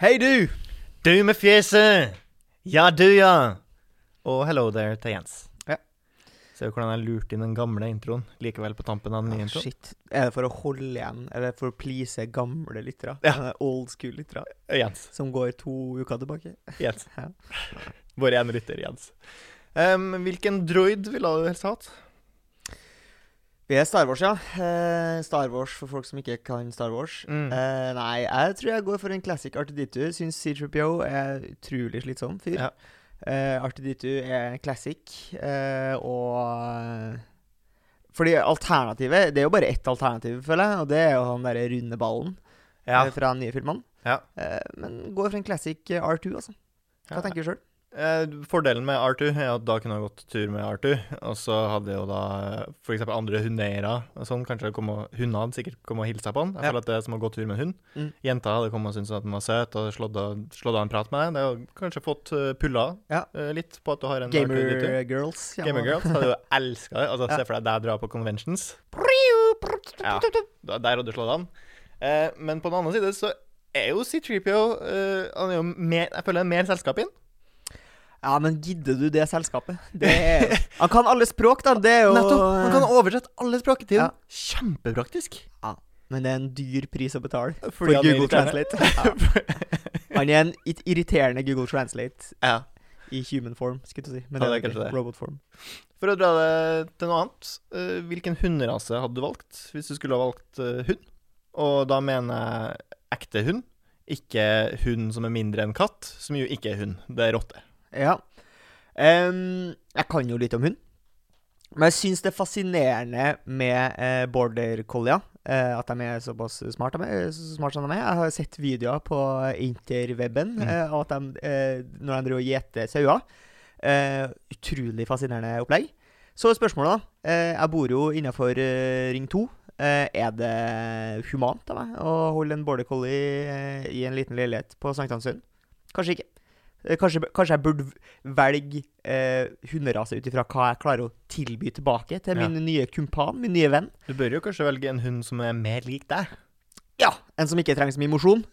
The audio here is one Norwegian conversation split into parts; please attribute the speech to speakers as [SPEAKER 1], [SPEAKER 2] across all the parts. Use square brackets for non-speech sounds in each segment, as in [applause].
[SPEAKER 1] Hei, du!
[SPEAKER 2] Du med fjeset! Ja, du, ja. Og hello there til Jens.
[SPEAKER 1] Ja.
[SPEAKER 2] Ser du hvordan jeg lurte inn den gamle introen likevel på tampen av den nye
[SPEAKER 1] Ah,
[SPEAKER 2] introen?
[SPEAKER 1] shit. Er det for å holde igjen, eller for å please gamle lyttere?
[SPEAKER 2] Ja.
[SPEAKER 1] Sånne Old school lyttere
[SPEAKER 2] Jens.
[SPEAKER 1] som går to uker tilbake?
[SPEAKER 2] Jens.
[SPEAKER 1] Ja.
[SPEAKER 2] Vår ene lytter, Jens. Em, hvilken droid ville du helst hatt?
[SPEAKER 1] Vi er Star Wars, ja. Eh, Star Wars for folk som ikke kan Star Wars.
[SPEAKER 2] Mm.
[SPEAKER 1] Eh, nei, jeg tror jeg går for en classic Artiditu. Syns C3PO er utrolig slitsom fyr.
[SPEAKER 2] Ja.
[SPEAKER 1] Eh, Artiditu er classic, eh, og eh, Fordi alternativet Det er jo bare ett alternativ, føler jeg, og det er jo han derre runde ballen
[SPEAKER 2] Ja.
[SPEAKER 1] eh, fra den nye filmen.
[SPEAKER 2] Ja.
[SPEAKER 1] Eh, men går for en classic eh, R2, altså. Hva
[SPEAKER 2] Ja.
[SPEAKER 1] tenker du sjøl?
[SPEAKER 2] Eh, fordelen med R2 er at da kunne jeg gått tur med R2, og så hadde jo da f.eks. andre hundeeiere og sånn, kanskje det kom og, hunder hadde sikkert kommet og hilsa på han. Jeg
[SPEAKER 1] Ja.
[SPEAKER 2] føler at det er som å gå tur med en hund.
[SPEAKER 1] Mm.
[SPEAKER 2] Jenta hadde kommet og syntes at den var søt, og slått av, slått av en prat med deg. Det har kanskje fått eh, pulla
[SPEAKER 1] Ja.
[SPEAKER 2] eh, litt på at du har en R2-dytter.
[SPEAKER 1] Gamer girls. ja.
[SPEAKER 2] Gamer Girls hadde jo elska det. Altså, Se for deg deg dra på conventions. Ja, da- Der hadde du slått an. Eh, men på den andre side så er jo C-Treepio Han er jo mer, jeg føler han er mer selskap inn.
[SPEAKER 1] Ja, men gidder du det selskapet? Det
[SPEAKER 2] [laughs]
[SPEAKER 1] er... Han kan alle språk, da. Det er jo eh,
[SPEAKER 2] Nettopp. Han kan oversette alle språk i tiden.
[SPEAKER 1] Ja.
[SPEAKER 2] Kjempepraktisk.
[SPEAKER 1] ja. Men det er en dyr pris å betale for
[SPEAKER 2] Fordi han er
[SPEAKER 1] Google
[SPEAKER 2] irriterende. [laughs]
[SPEAKER 1] Translate. Ja. Han er en it- irriterende Google Translate
[SPEAKER 2] Ja.
[SPEAKER 1] i human form, skulle jeg til å si. Men
[SPEAKER 2] Ja, det
[SPEAKER 1] det
[SPEAKER 2] er
[SPEAKER 1] er
[SPEAKER 2] kanskje det.
[SPEAKER 1] robot form.
[SPEAKER 2] For å dra det til noe annet, eh, hvilken hunderase hadde du valgt hvis du skulle ha valgt eh, hund? Og da mener jeg ekte hund, ikke hund som er mindre enn katt, som jo ikke er hund, det er rotte.
[SPEAKER 1] Ja. Ehm, jeg kan jo litt om hund. Men jeg syns det er fascinerende med eh, border collier. eh, at de er såpass smarte de er, så smart som de er. Jeg har sett videoer på interweben
[SPEAKER 2] Mm.
[SPEAKER 1] eh, av at de, eh, når de driver og gjeter sauer. Eh, utrolig fascinerende opplegg. Så er spørsmålet, da. Eh, jeg bor jo innafor eh, Ring 2. Eh, er det humant av meg å holde en border collie eh, i en liten leilighet på Sankthansund? Kanskje ikke. Eh, Kanskje, kanskje jeg burde v- velge eh, hunderase ut ifra hva jeg klarer å tilby tilbake til
[SPEAKER 2] Ja.
[SPEAKER 1] min nye kumpan, min nye venn.
[SPEAKER 2] Du bør jo kanskje velge en hund som er mer lik deg.
[SPEAKER 1] Ja, En som ikke trenger så mye mosjon.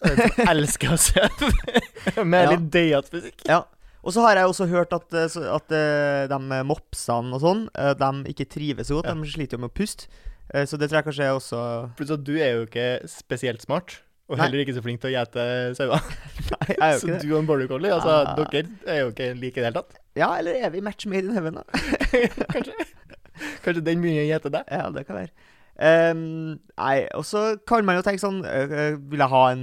[SPEAKER 2] elsker å se [laughs] med
[SPEAKER 1] Ja.
[SPEAKER 2] litt døyete fysikk.
[SPEAKER 1] Ja. Og så har jeg også hørt at, eh, så- at eh, de mopsene og sånn, eh, de ikke trives så godt.
[SPEAKER 2] Ja.
[SPEAKER 1] De sliter jo med å puste. Eh, Så det tror jeg kanskje er også
[SPEAKER 2] [laughs] Pluss at du er jo ikke spesielt smart, og
[SPEAKER 1] Nei.
[SPEAKER 2] heller ikke så flink til å gjete sauer.
[SPEAKER 1] Nei, [laughs] jeg er jo
[SPEAKER 2] [laughs] Så
[SPEAKER 1] ikke det.
[SPEAKER 2] du og en border collie, altså,
[SPEAKER 1] Ah.
[SPEAKER 2] dere er jo ikke like i det hele tatt.
[SPEAKER 1] Ja, eller er vi match made in heaven, da? [laughs]
[SPEAKER 2] Kanskje Kanskje den begynner å gjete deg.
[SPEAKER 1] Ja, det kan være. Ehm, nei, og så kan man jo tenke sånn øh, øh, Vil jeg ha en,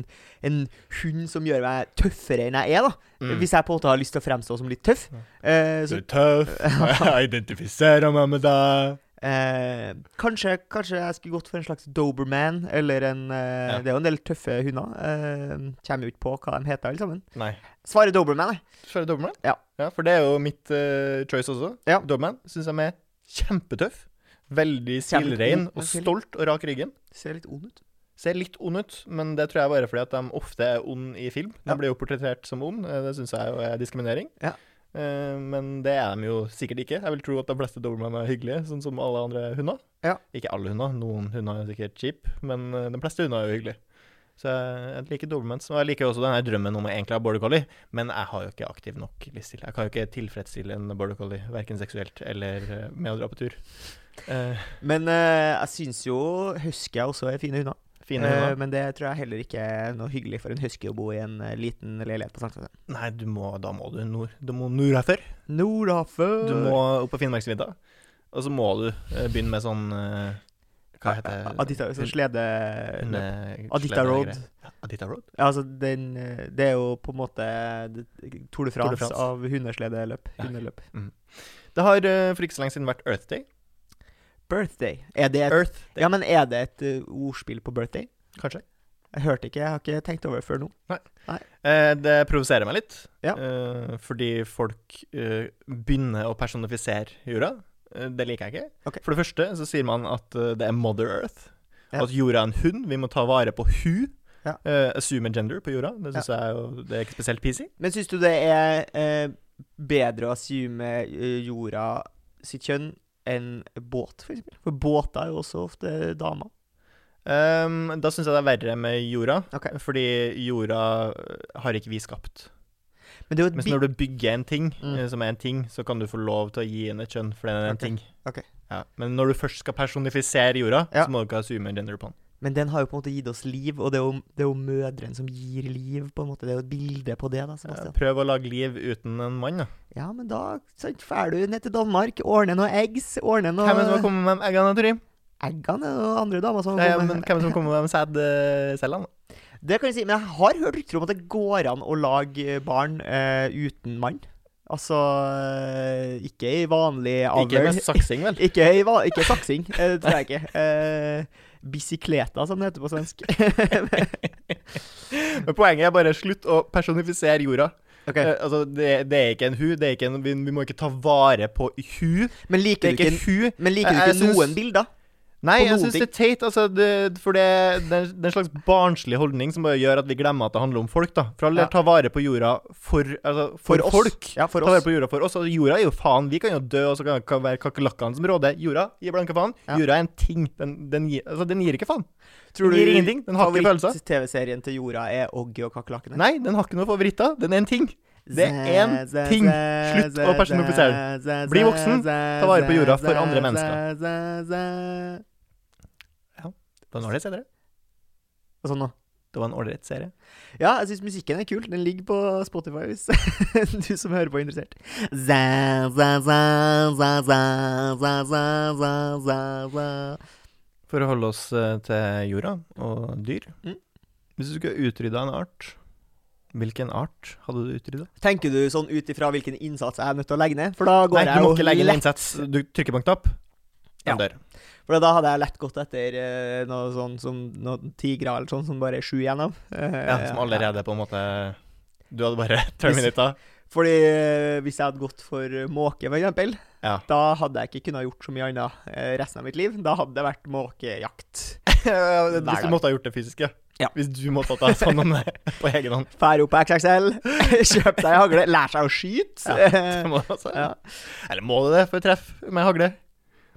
[SPEAKER 1] en hund som gjør meg tøffere enn jeg er, da?
[SPEAKER 2] Mm.
[SPEAKER 1] Hvis jeg på en måte har lyst til å fremstå som litt tøff. Eh,
[SPEAKER 2] Du
[SPEAKER 1] så,
[SPEAKER 2] er
[SPEAKER 1] [laughs]
[SPEAKER 2] tøff, jeg identifiserer meg med deg.
[SPEAKER 1] eh, kanskje, kanskje jeg skulle gått for en slags Doberman, eller en eh,
[SPEAKER 2] Ja.
[SPEAKER 1] Det er jo en del tøffe hunder. Eh, kommer jo ikke på hva de heter, alle sammen.
[SPEAKER 2] Nei.
[SPEAKER 1] Svarer Doberman, jeg.
[SPEAKER 2] Kjører Doberman?
[SPEAKER 1] Ja.
[SPEAKER 2] For det er jo mitt eh, choice også.
[SPEAKER 1] Ja.
[SPEAKER 2] Doberman syns jeg er kjempetøff. Veldig
[SPEAKER 1] Kjempe-
[SPEAKER 2] stilrein og
[SPEAKER 1] Ja, stil-
[SPEAKER 2] stolt og rak i ryggen.
[SPEAKER 1] Ser litt ond ut.
[SPEAKER 2] Ser litt ond ut, men det tror jeg bare fordi at de ofte er ond i film. De
[SPEAKER 1] Ja.
[SPEAKER 2] blir jo portrettert som ond, eh, det syns jeg jo er diskriminering.
[SPEAKER 1] Ja.
[SPEAKER 2] Eh, Men det er de jo sikkert ikke. Jeg vil tro at de fleste dobermann er hyggelige, sånn som alle andre hunder.
[SPEAKER 1] Ja.
[SPEAKER 2] Ikke alle hunder, noen hunder er sikkert kjip, men eh, de fleste hunder er jo hyggelige. Så jeg jeg liker dobermann. Og jeg liker også denne drømmen om å egentlig ha border collie, men jeg har jo ikke aktiv nok livsstil. Jeg kan jo ikke tilfredsstille en border collie, verken seksuelt eller eh, med å dra på tur. Eh,
[SPEAKER 1] Men eh, jeg syns jo huskyer også er fine hunder.
[SPEAKER 2] Fine
[SPEAKER 1] Eh,
[SPEAKER 2] hunder.
[SPEAKER 1] men det tror jeg heller ikke er noe hyggelig for en husky å bo i en eh, liten leilighet på Sankthansen.
[SPEAKER 2] Nei, du må, da må du nord. Du må nord herfor.
[SPEAKER 1] Nordafør.
[SPEAKER 2] Du må opp på Finnmarksvidda, og så må du eh, begynne med sånn eh, Hva heter det? eh,
[SPEAKER 1] Adita, sånn slede...
[SPEAKER 2] Hunde-
[SPEAKER 1] Adita
[SPEAKER 2] slede-
[SPEAKER 1] Road.
[SPEAKER 2] greier. Adita Road?
[SPEAKER 1] Ja, altså den eh, Det er jo på en måte det- Tour de France,
[SPEAKER 2] France.
[SPEAKER 1] av hundesledeløp.
[SPEAKER 2] Ja.
[SPEAKER 1] Hundeløp.
[SPEAKER 2] Det har eh, for ikke så lenge siden vært Earth Day.
[SPEAKER 1] Birthday. Er det et,
[SPEAKER 2] Earth Day,
[SPEAKER 1] Ja, men er det et eh, ordspill på birthday?
[SPEAKER 2] kanskje.
[SPEAKER 1] Jeg hørte ikke, jeg har ikke tenkt over det før nå.
[SPEAKER 2] Eh, det provoserer meg litt,
[SPEAKER 1] Ja.
[SPEAKER 2] eh, fordi folk eh, begynner å personifisere jorda. Eh, det liker jeg ikke.
[SPEAKER 1] Ok.
[SPEAKER 2] For det første så sier man at eh, det er Mother Earth.
[SPEAKER 1] Ja.
[SPEAKER 2] At jorda er en hund. Vi må ta vare på hu.
[SPEAKER 1] Ja.
[SPEAKER 2] Eh, assume gender på jorda. Det syns jeg er jo det er ikke spesielt peasy.
[SPEAKER 1] Men syns du det er eh, bedre å assume eh, jorda sitt kjønn enn båt, for eksempel? For båter er jo også ofte damer.
[SPEAKER 2] Ehm, da syns jeg det er verre med jorda,
[SPEAKER 1] Ok.
[SPEAKER 2] fordi jorda øh, har ikke vi skapt.
[SPEAKER 1] Men det er jo et
[SPEAKER 2] Mens
[SPEAKER 1] bi-
[SPEAKER 2] når du bygger en ting
[SPEAKER 1] Mm.
[SPEAKER 2] eh, som er en ting, så kan du få lov til å gi henne et kjønn, for den er en
[SPEAKER 1] Ok.
[SPEAKER 2] ting.
[SPEAKER 1] Ok.
[SPEAKER 2] Ja. Men når du først skal personifisere jorda,
[SPEAKER 1] Ja.
[SPEAKER 2] så må du ikke assume en gender på den.
[SPEAKER 1] Men den har jo på en måte gitt oss liv, og det er jo, det er jo mødrene som gir liv, på en måte. Det er jo et bilde på det, da,
[SPEAKER 2] Eh,
[SPEAKER 1] Sebastian.
[SPEAKER 2] Prøv å lage liv uten en mann, da.
[SPEAKER 1] Ja, men da sant, drar du ned til Danmark, ordner noen eggs, ordner noen
[SPEAKER 2] Hvem er det som har kommet med eggene, Turim?
[SPEAKER 1] Eggene er det noen andre damer som
[SPEAKER 2] Nei,
[SPEAKER 1] har
[SPEAKER 2] men
[SPEAKER 1] kommet.
[SPEAKER 2] hvem er det som kommer med eh, sædcellene?
[SPEAKER 1] Det kan jeg si, men jeg har hørt rykter om at det går an å lage eh, barn eh, uten mann. Altså eh, ikke i vanlig
[SPEAKER 2] Ikke
[SPEAKER 1] avl.
[SPEAKER 2] med saksing,
[SPEAKER 1] [laughs]
[SPEAKER 2] vel?
[SPEAKER 1] Ikke, i va- ikke saksing, eh, det tror jeg ikke. Eh, bisikleta, som det heter på svensk.
[SPEAKER 2] Men poenget er bare slutt å personifisere jorda.
[SPEAKER 1] [laughs] Ok,
[SPEAKER 2] Eh, altså, det, det er ikke en hu, det er ikke en, vi, vi må ikke ta vare på hu.
[SPEAKER 1] Men
[SPEAKER 2] Det
[SPEAKER 1] liker
[SPEAKER 2] er
[SPEAKER 1] du
[SPEAKER 2] ikke
[SPEAKER 1] ikke,
[SPEAKER 2] hu.
[SPEAKER 1] men liker du
[SPEAKER 2] Jeg- jeg
[SPEAKER 1] ikke noen
[SPEAKER 2] syns-
[SPEAKER 1] bilder?
[SPEAKER 2] Nei,
[SPEAKER 1] på
[SPEAKER 2] jeg
[SPEAKER 1] noen
[SPEAKER 2] syns det er teit. Altså, det, for det, det, er, det er en slags barnslig holdning som bare gjør at vi glemmer at det handler om folk. da For alle
[SPEAKER 1] Ja.
[SPEAKER 2] tar vare på jorda for, altså, for,
[SPEAKER 1] oss.
[SPEAKER 2] folk.
[SPEAKER 1] Ja, for
[SPEAKER 2] Ta vare
[SPEAKER 1] oss.
[SPEAKER 2] på jorda for oss. Altså, jorda er jo faen. Vi kan jo dø, og så kan det være kakerlakkene som råder. Jorda gir blanke faen.
[SPEAKER 1] Ja.
[SPEAKER 2] Jorda er en ting. Den, den, gir, altså, den gir ikke faen.
[SPEAKER 1] Tror
[SPEAKER 2] den gir ingenting. Den har ikke følelser.
[SPEAKER 1] Favoritt-TV-serien til jorda er Oggy og kakerlakkene.
[SPEAKER 2] Nei, den har ikke noe favoritter. Den er en ting. det er en
[SPEAKER 1] Zæ, zæ,
[SPEAKER 2] ting.
[SPEAKER 1] zæ,
[SPEAKER 2] Slutt
[SPEAKER 1] zæ,
[SPEAKER 2] å personifisere
[SPEAKER 1] zæ, zæ,
[SPEAKER 2] Bli voksen,
[SPEAKER 1] zæ,
[SPEAKER 2] ta vare på
[SPEAKER 1] zæ,
[SPEAKER 2] jorda for
[SPEAKER 1] zæ,
[SPEAKER 2] andre
[SPEAKER 1] zæ,
[SPEAKER 2] mennesker.
[SPEAKER 1] zæ, zæ.
[SPEAKER 2] Det var en ålreit serie.
[SPEAKER 1] Og sånn nå.
[SPEAKER 2] Det var en ålreit serie.
[SPEAKER 1] Ja, jeg syns musikken er kul. Den ligger på Spotify, hvis [laughs] du som hører på, er interessert. Zæ, zæ, zæ, zæ, zæ, zæ, zæ, zæ, zæ, zæ.
[SPEAKER 2] For å holde oss eh, til jorda og dyr.
[SPEAKER 1] Mm.
[SPEAKER 2] Hvis du skulle utrydda en art, hvilken art hadde du utrydda?
[SPEAKER 1] Tenker du sånn ut ifra hvilken innsats jeg er nødt til å legge ned? For da går
[SPEAKER 2] Nei,
[SPEAKER 1] jeg
[SPEAKER 2] du må ikke legge
[SPEAKER 1] lett-
[SPEAKER 2] inn innsats. Du trykker på en knapp, den
[SPEAKER 1] Ja.
[SPEAKER 2] dør.
[SPEAKER 1] For da hadde jeg lett gått etter eh, noe sånn som noen tigre eller sånn som bare er sju igjen av. Eh,
[SPEAKER 2] Ja, som allerede på en måte Du hadde bare [laughs] terminata.
[SPEAKER 1] Fordi eh, hvis jeg hadde gått for eh, måke, for eksempel,
[SPEAKER 2] Ja.
[SPEAKER 1] da hadde jeg ikke kunnet gjort så mye annet eh, resten av mitt liv. Da hadde det vært måkejakt. Hver
[SPEAKER 2] Hvis du
[SPEAKER 1] gang.
[SPEAKER 2] måtte ha gjort det fysiske.
[SPEAKER 1] Ja.
[SPEAKER 2] Hvis du måtte ha tatt hånd om det [laughs] på egen hånd.
[SPEAKER 1] Fære opp på
[SPEAKER 2] [laughs]
[SPEAKER 1] XXL, kjøpe seg hagle, lære seg å skyte. [laughs]
[SPEAKER 2] Ja,
[SPEAKER 1] Eh,
[SPEAKER 2] det må du også.
[SPEAKER 1] Ja.
[SPEAKER 2] Eller må du det for treff med hagle?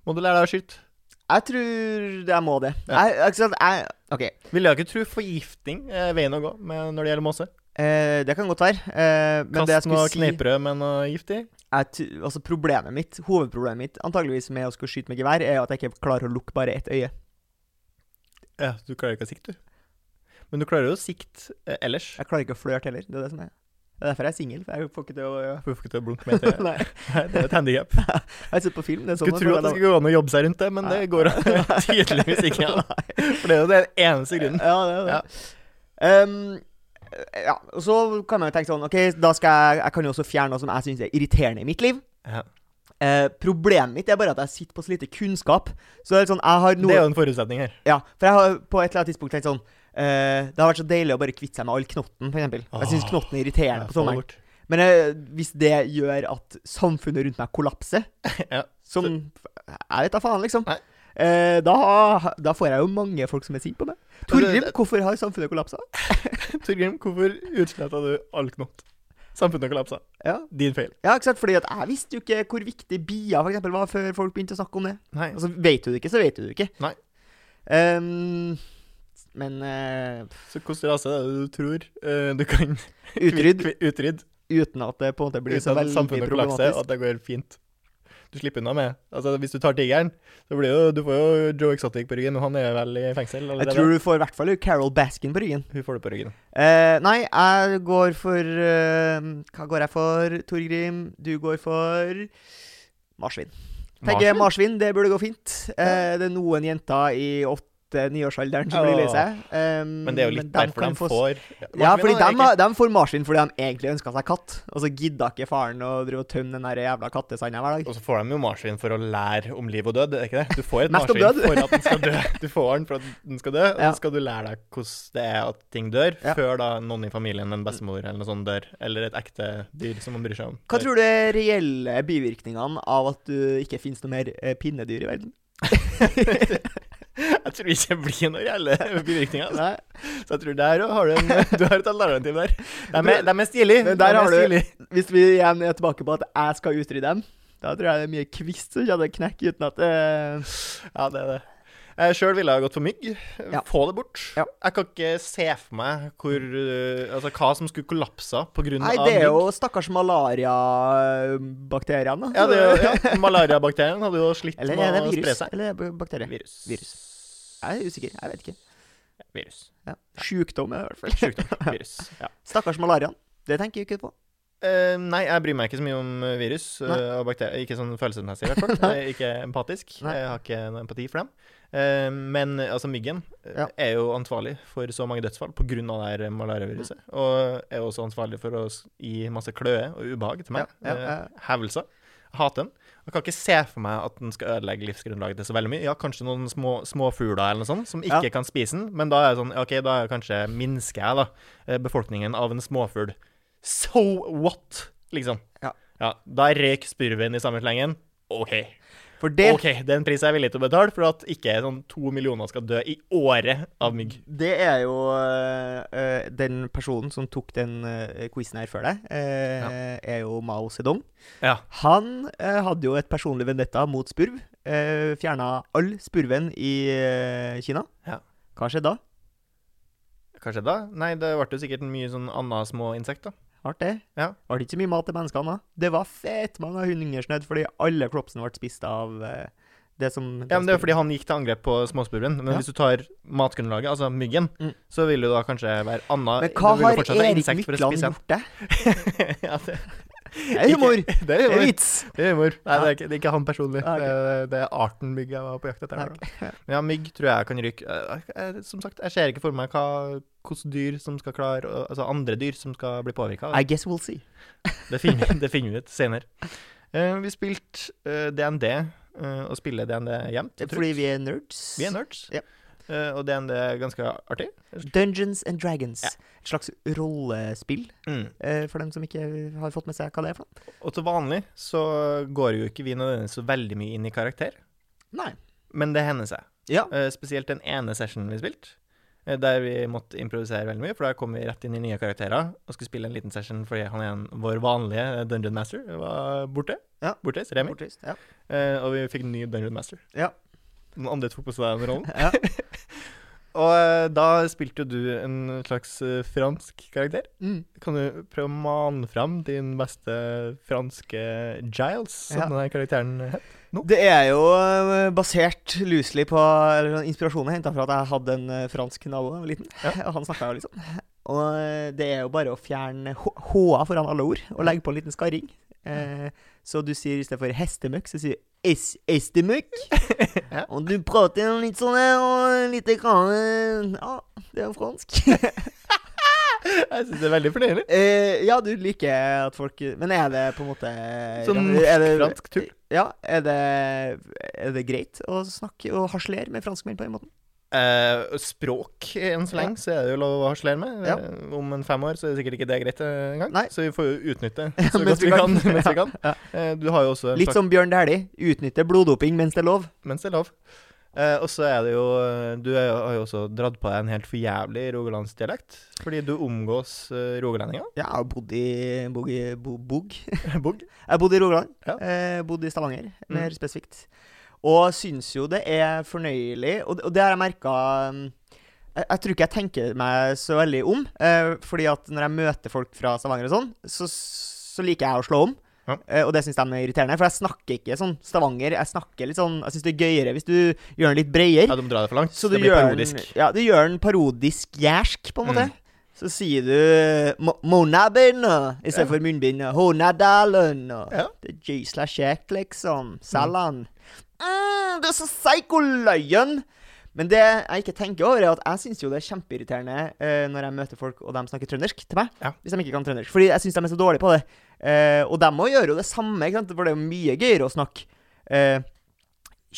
[SPEAKER 2] Må du lære deg å skyte?
[SPEAKER 1] Jeg tror jeg må det.
[SPEAKER 2] Ja.
[SPEAKER 1] Jeg, ikke sant, jeg, ok,
[SPEAKER 2] Vil jeg ikke tro forgiftning er veien å gå med når det gjelder måse?
[SPEAKER 1] eh, det kan godt være. Eh, men det jeg
[SPEAKER 2] Kast noe
[SPEAKER 1] skulle si
[SPEAKER 2] kneippbrød med noe gift i?
[SPEAKER 1] jeg, t- altså problemet mitt, hovedproblemet mitt antageligvis med å skulle skyte med gevær, er jo at jeg ikke klarer å lukke bare ett øye.
[SPEAKER 2] Ja, du klarer ikke å sikte, du. Men du klarer jo å sikte eh, ellers.
[SPEAKER 1] Jeg klarer ikke å flørte heller. Det er det som er. Det er derfor jeg er singel. for Jeg får ikke til å
[SPEAKER 2] Får ikke til å [laughs] blunke med etter.
[SPEAKER 1] [laughs] Nei,
[SPEAKER 2] Det er et handikap.
[SPEAKER 1] Jeg har sett på film. Det er sånn
[SPEAKER 2] Skulle tro at det skulle gå an å jobbe seg rundt det, men det
[SPEAKER 1] Nei.
[SPEAKER 2] går [laughs]
[SPEAKER 1] [laughs]
[SPEAKER 2] tydeligvis ikke an. For det er jo den eneste grunnen.
[SPEAKER 1] Ja, det er det. Ehm, ja, og så kan man jo tenke sånn Ok, da skal jeg Jeg kan jo også fjerne noe som jeg syns er irriterende i mitt liv.
[SPEAKER 2] Ja.
[SPEAKER 1] Eh, problemet mitt er bare at jeg sitter på så lite kunnskap. Så det er litt sånn Jeg har noe
[SPEAKER 2] Det er jo en forutsetning her.
[SPEAKER 1] Ja, for jeg har på et eller annet tidspunkt tenkt sånn eh, Det har vært så deilig å bare kvitte seg med all knotten, for eksempel. Jeg syns
[SPEAKER 2] Åh.
[SPEAKER 1] knotten er irriterende
[SPEAKER 2] Ja,
[SPEAKER 1] på sommeren.
[SPEAKER 2] forward.
[SPEAKER 1] Men eh, hvis det gjør at samfunnet rundt meg kollapser,
[SPEAKER 2] [laughs] Ja.
[SPEAKER 1] som Jeg vet da faen, liksom.
[SPEAKER 2] Nei.
[SPEAKER 1] eh, da, da får jeg jo mange folk som er sinte på meg. Torgrim,
[SPEAKER 2] det-
[SPEAKER 1] hvorfor har samfunnet kollapsa?
[SPEAKER 2] eh, Torgrim, hvorfor utsletta du all knott? Samfunnet kollapsa.
[SPEAKER 1] Ja.
[SPEAKER 2] Din feil.
[SPEAKER 1] ja, ikke sant? Fordi at jeg visste jo ikke hvor viktig bier for eksempel, var før folk begynte å snakke om det.
[SPEAKER 2] Nei.
[SPEAKER 1] Altså, Vet du det ikke, så vet du det ikke.
[SPEAKER 2] Nei.
[SPEAKER 1] Ehm, men eh,
[SPEAKER 2] Så hvilken rase er det du tror eh, du kan
[SPEAKER 1] utrydd
[SPEAKER 2] kvi- utrydd
[SPEAKER 1] uten at det på en måte blir så
[SPEAKER 2] uten at
[SPEAKER 1] veldig
[SPEAKER 2] samfunnet kollapser,
[SPEAKER 1] problematisk.
[SPEAKER 2] og at det går fint? Du slipper unna med Altså, hvis du tar tigeren, så blir jo Du får jo Joe Exotic på ryggen, og han er vel i fengsel?
[SPEAKER 1] Jeg
[SPEAKER 2] allerede.
[SPEAKER 1] tror du får i hvert fall Carol Baskin på ryggen.
[SPEAKER 2] Hun får det på ryggen.
[SPEAKER 1] Eh, nei, jeg går for eh, Hva går jeg for, Torgrim? Du går for marsvin. Tenker marsvin, det burde gå fint. Eh, det er noen jenter i åtte-niårsalderen som blir lei seg. Eh,
[SPEAKER 2] Men det er jo litt
[SPEAKER 1] dem
[SPEAKER 2] derfor
[SPEAKER 1] kan
[SPEAKER 2] de
[SPEAKER 1] få s-
[SPEAKER 2] får
[SPEAKER 1] ja, fordi
[SPEAKER 2] Marsvin,
[SPEAKER 1] de,
[SPEAKER 2] da, egentlig.
[SPEAKER 1] har- de får marsvin fordi de egentlig ønska seg katt, og så gidda ikke faren å drive og tømme den der jævla kattesanda hver dag.
[SPEAKER 2] Og så får de jo marsvin for å lære om liv og død, er det ikke det? Du får et
[SPEAKER 1] Mest om
[SPEAKER 2] marsvin
[SPEAKER 1] død.
[SPEAKER 2] for at den skal dø. [laughs] Du får den for at den skal dø, og
[SPEAKER 1] Ja.
[SPEAKER 2] så skal du lære deg hvordan det er at ting dør,
[SPEAKER 1] Ja.
[SPEAKER 2] før da noen i familien, en bestemor eller noe sånt, dør. Eller et ekte dyr som man bryr seg om.
[SPEAKER 1] Hva tror du er reelle bivirkningene av at du ikke finnes noe mer eh, pinnedyr i verden?
[SPEAKER 2] [laughs] Jeg tror ikke det blir noen reelle bivirkninger. Altså.
[SPEAKER 1] Nei.
[SPEAKER 2] Så jeg tror der har du, en, [laughs] du har et alternativ
[SPEAKER 1] [laughs]
[SPEAKER 2] der. De er, de er stilige.
[SPEAKER 1] Men der
[SPEAKER 2] de er
[SPEAKER 1] har du-
[SPEAKER 2] stilige.
[SPEAKER 1] Hvis vi igjen er tilbake på at jeg skal utrydde dem, da tror jeg det er mye kvist som kommer til å knekke uten at eh,
[SPEAKER 2] Ja, det er det. Eh, Sjøl ville jeg gått for mygg.
[SPEAKER 1] Ja.
[SPEAKER 2] Få det bort.
[SPEAKER 1] Ja.
[SPEAKER 2] Jeg kan ikke se for meg hvor, eh, altså, hva som skulle kollapsa pga.
[SPEAKER 1] Nei,
[SPEAKER 2] mygg.
[SPEAKER 1] det er jo stakkars malariabakteriene.
[SPEAKER 2] ja, det er jo, ja, Malariabakterien hadde jo slitt
[SPEAKER 1] Eller er
[SPEAKER 2] med
[SPEAKER 1] det
[SPEAKER 2] å spre
[SPEAKER 1] virus?
[SPEAKER 2] seg.
[SPEAKER 1] Eller er det bakterie?
[SPEAKER 2] Virus.
[SPEAKER 1] Jeg er usikker. Jeg vet ikke.
[SPEAKER 2] Virus.
[SPEAKER 1] Ja. Sjukdom, i hvert fall.
[SPEAKER 2] Sjukdom. Virus.
[SPEAKER 1] [laughs]
[SPEAKER 2] Ja.
[SPEAKER 1] Stakkars malariaen. Det tenker jeg ikke på.
[SPEAKER 2] Eh, nei, jeg bryr meg ikke så mye om eh, virus eh,
[SPEAKER 1] Nei.
[SPEAKER 2] og bakterier. Ikke sånn følelsesmessig, i
[SPEAKER 1] [laughs]
[SPEAKER 2] hvert fall. Jeg er ikke empatisk.
[SPEAKER 1] Nei.
[SPEAKER 2] Jeg har ikke noe empati for dem. Eh, men eh, altså, myggen eh,
[SPEAKER 1] Ja.
[SPEAKER 2] er jo ansvarlig for så mange dødsfall pga. malariaviruset. Og er jo også ansvarlig for å s- gi masse kløe og ubehag til meg.
[SPEAKER 1] Ja, ja, ja.
[SPEAKER 2] Eh, hevelser. Jeg Hater den. Jeg kan ikke se for meg at den skal ødelegge livsgrunnlaget til så veldig mye. Ja, kanskje noen små småfugler eller noe sånt som
[SPEAKER 1] Ja.
[SPEAKER 2] ikke kan spise den, men da er det sånn ja, OK, da er det kanskje minsker jeg, da, eh, befolkningen av en småfugl. So what? Liksom.
[SPEAKER 1] Ja.
[SPEAKER 2] da røyk spurven i samme slengen. OK.
[SPEAKER 1] For det,
[SPEAKER 2] OK, det er en pris jeg er villig til å betale for at ikke sånn to millioner skal dø i året av mygg.
[SPEAKER 1] det er jo øh, øh, Den personen som tok den øh, quizen her før deg, øh, er jo Mao Zedong.
[SPEAKER 2] Ja.
[SPEAKER 1] Han øh, hadde jo et personlig vendetta mot spurv. Uh, fjerna all spurven i øh, Kina.
[SPEAKER 2] Ja.
[SPEAKER 1] Hva skjedde da?
[SPEAKER 2] Kanskje da? Nei, det ble jo sikkert mye sånn anna små insekter.
[SPEAKER 1] Hardt det.
[SPEAKER 2] Ja.
[SPEAKER 1] Var det ikke så mye mat til menneskene da? Det var fett mange hungersnødd fordi alle kropsene ble spist av eh, det som
[SPEAKER 2] Ja, men Det er jo fordi han gikk til angrep på småspurven. Men
[SPEAKER 1] Ja.
[SPEAKER 2] hvis du tar matgrunnlaget, altså myggen,
[SPEAKER 1] Mm.
[SPEAKER 2] så vil du da kanskje være anna
[SPEAKER 1] Men hva
[SPEAKER 2] du vil jo
[SPEAKER 1] har
[SPEAKER 2] fortsatt være
[SPEAKER 1] Erik
[SPEAKER 2] insekt for å
[SPEAKER 1] Mykland
[SPEAKER 2] spise en.
[SPEAKER 1] gjort det?
[SPEAKER 2] [laughs] ja, det,
[SPEAKER 1] Det er humor!
[SPEAKER 2] Ikke- [laughs] Det
[SPEAKER 1] Det
[SPEAKER 2] er
[SPEAKER 1] er
[SPEAKER 2] humor.
[SPEAKER 1] vits!
[SPEAKER 2] Det er humor. Nei,
[SPEAKER 1] Ja.
[SPEAKER 2] det er ikke, det er ikke han personlig.
[SPEAKER 1] Ja, ok.
[SPEAKER 2] Det, er, det er arten mygg jeg var på jakt etter.
[SPEAKER 1] Ja,
[SPEAKER 2] her da. Men ja, mygg tror jeg kan ryke. Eh, eh, Som sagt, jeg ser ikke for meg hva hvilke dyr som skal klare å- Altså andre dyr som skal bli påvirka.
[SPEAKER 1] I guess we'll see.
[SPEAKER 2] Det finner, det finner vi ut senere. Eh, vi spilte eh, DND, eh, og spiller DND jevnt. og
[SPEAKER 1] Det er
[SPEAKER 2] trutt.
[SPEAKER 1] fordi vi er nerds.
[SPEAKER 2] Vi er nerds.
[SPEAKER 1] Ja.
[SPEAKER 2] Eh, og DND er ganske artig.
[SPEAKER 1] Dungeons and Dragons.
[SPEAKER 2] Ja.
[SPEAKER 1] Et slags rollespill, eh, for dem som ikke har fått med seg hva det er for noe.
[SPEAKER 2] Og til vanlig så går jo ikke vi nødvendigvis så veldig mye inn i karakter,
[SPEAKER 1] Nei.
[SPEAKER 2] men det hender seg.
[SPEAKER 1] Ja.
[SPEAKER 2] Eh, spesielt den ene sessionen vi spilte, eh, der vi måtte improvisere veldig mye, for da kom vi rett inn i nye karakterer og skulle spille en liten session fordi han er en, vår vanlige eh, Dungeon Master var borte.
[SPEAKER 1] Ja.
[SPEAKER 2] Borte, Remi.
[SPEAKER 1] Bortreist, Ja.
[SPEAKER 2] Eh, og vi fikk en ny Dungeon Master.
[SPEAKER 1] Ja.
[SPEAKER 2] Noen andre tok på seg den rollen.
[SPEAKER 1] Ja.
[SPEAKER 2] [laughs] Og eh, da spilte jo du en slags eh, fransk karakter.
[SPEAKER 1] Mm.
[SPEAKER 2] Kan du prøve å mane fram din beste franske Giles, som
[SPEAKER 1] Ja.
[SPEAKER 2] denne karakteren [laughs] het?
[SPEAKER 1] Det er jo eh, basert loosely på eller sånn, Inspirasjonen er henta fra at jeg hadde en eh, fransk nabo da jeg var liten. [laughs] Og han snakka jo liksom. Og eh, det er jo bare å fjerne H- H-a foran alle ord og legge på en liten skarring. Eh, så du sier i stedet for hestemøkk, så sier du es estemøkk.
[SPEAKER 2] [laughs] Ja.
[SPEAKER 1] Og du prater jo litt sånn eh, og litt grann eh, Ja, det er jo fransk.
[SPEAKER 2] [laughs] Jeg syns det er veldig fornøyelig.
[SPEAKER 1] Eh, ja, du liker at folk Men er det på en måte
[SPEAKER 2] Sånn
[SPEAKER 1] er det-
[SPEAKER 2] norsk-fransk tull.
[SPEAKER 1] ja, er det, er det greit å snakke og harselere med franskmenn på den måten?
[SPEAKER 2] Eh, språk enn så lenge, så er det jo lov å harselere med.
[SPEAKER 1] Ja.
[SPEAKER 2] Eh, Om en fem år så er det sikkert ikke det greit eh, engang.
[SPEAKER 1] Nei.
[SPEAKER 2] Så vi får jo
[SPEAKER 1] [laughs]
[SPEAKER 2] utnytte det så
[SPEAKER 1] mens
[SPEAKER 2] godt
[SPEAKER 1] vi
[SPEAKER 2] vi
[SPEAKER 1] kan.
[SPEAKER 2] kan. mens vi kan.
[SPEAKER 1] [laughs] Ja.
[SPEAKER 2] Eh, du har jo også en
[SPEAKER 1] Litt som Bjørn Dæhlie. Utnytte bloddoping mens det er lov.
[SPEAKER 2] mens det er lov. Eh, og så er det jo eh, Du er, jo- har jo også dratt på deg en helt for jævlig rogalandsdialekt. Fordi du omgås eh, rogalendinger.
[SPEAKER 1] Ja, jeg har bodd i Bog. i- Bo-
[SPEAKER 2] [laughs]
[SPEAKER 1] Bog. Jeg
[SPEAKER 2] Bugg.
[SPEAKER 1] bodde i Rogaland.
[SPEAKER 2] Ja.
[SPEAKER 1] Eh, bodde i Stavanger, mer
[SPEAKER 2] Mm.
[SPEAKER 1] spesifikt. Og syns jo det er fornøyelig, og, og det har jeg merka jeg, jeg tror ikke jeg tenker meg så veldig om. Eh, fordi at når jeg møter folk fra Stavanger og sånn, så, så liker jeg å slå om.
[SPEAKER 2] Ja.
[SPEAKER 1] Eh, og det syns de er irriterende, for jeg snakker ikke sånn Stavanger. Jeg snakker litt sånn, jeg syns det er gøyere hvis du gjør den litt bredere.
[SPEAKER 2] Ja, de drar det for langt.
[SPEAKER 1] så du
[SPEAKER 2] det blir
[SPEAKER 1] gjør
[SPEAKER 2] parodisk.
[SPEAKER 1] den Ja, du gjør den parodisk jærsk, på en måte.
[SPEAKER 2] Mm.
[SPEAKER 1] Så sier du Mo- Monabin og- i stedet
[SPEAKER 2] Ja.
[SPEAKER 1] for munnbind. og Honadalen. og
[SPEAKER 2] Ja.
[SPEAKER 1] Det er gysla kjekt, liksom. Salan. Mm, du er så psycho, løyen! Men det jeg ikke tenker over, er at jeg syns jo det er kjempeirriterende eh, når jeg møter folk og de snakker trøndersk til meg.
[SPEAKER 2] Ja.
[SPEAKER 1] Hvis de ikke kan trøndersk. Fordi jeg syns de er så dårlige på det. Eh, og de må gjøre jo det samme, ikke sant? for det er jo mye gøyere å snakke eh,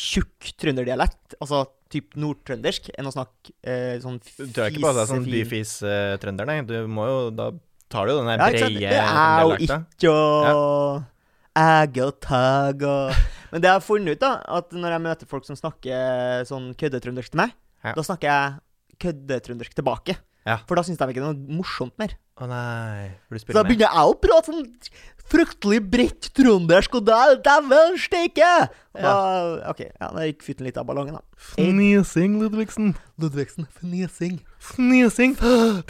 [SPEAKER 1] tjukk trønderdialekt, altså typ nordtrøndersk, enn å snakke eh, sånn
[SPEAKER 2] Du drar ikke på deg sånn
[SPEAKER 1] fisefin-
[SPEAKER 2] byfis-trønder, nei. Du må jo Da tar du jo den der
[SPEAKER 1] Ja, ikke sant?
[SPEAKER 2] breie
[SPEAKER 1] Det er jo
[SPEAKER 2] dialekta.
[SPEAKER 1] ikke å Egg og tag og Men det jeg har funnet ut, da, at når jeg møter folk som snakker sånn køddetrøndersk til meg,
[SPEAKER 2] Ja.
[SPEAKER 1] da snakker jeg køddetrøndersk tilbake.
[SPEAKER 2] Ja.
[SPEAKER 1] For da syns de ikke det er noe morsomt mer.
[SPEAKER 2] Å nei. For du
[SPEAKER 1] Så da
[SPEAKER 2] spiller med.
[SPEAKER 1] begynner jeg å prate sånn fryktelig bredt trøndersk, og da Dæven steike! Og Da, OK. Ja, da gikk fytten litt av ballongen, da.
[SPEAKER 2] Fnising, Ludvigsen.
[SPEAKER 1] Ludvigsen. Fnising.
[SPEAKER 2] Fnising.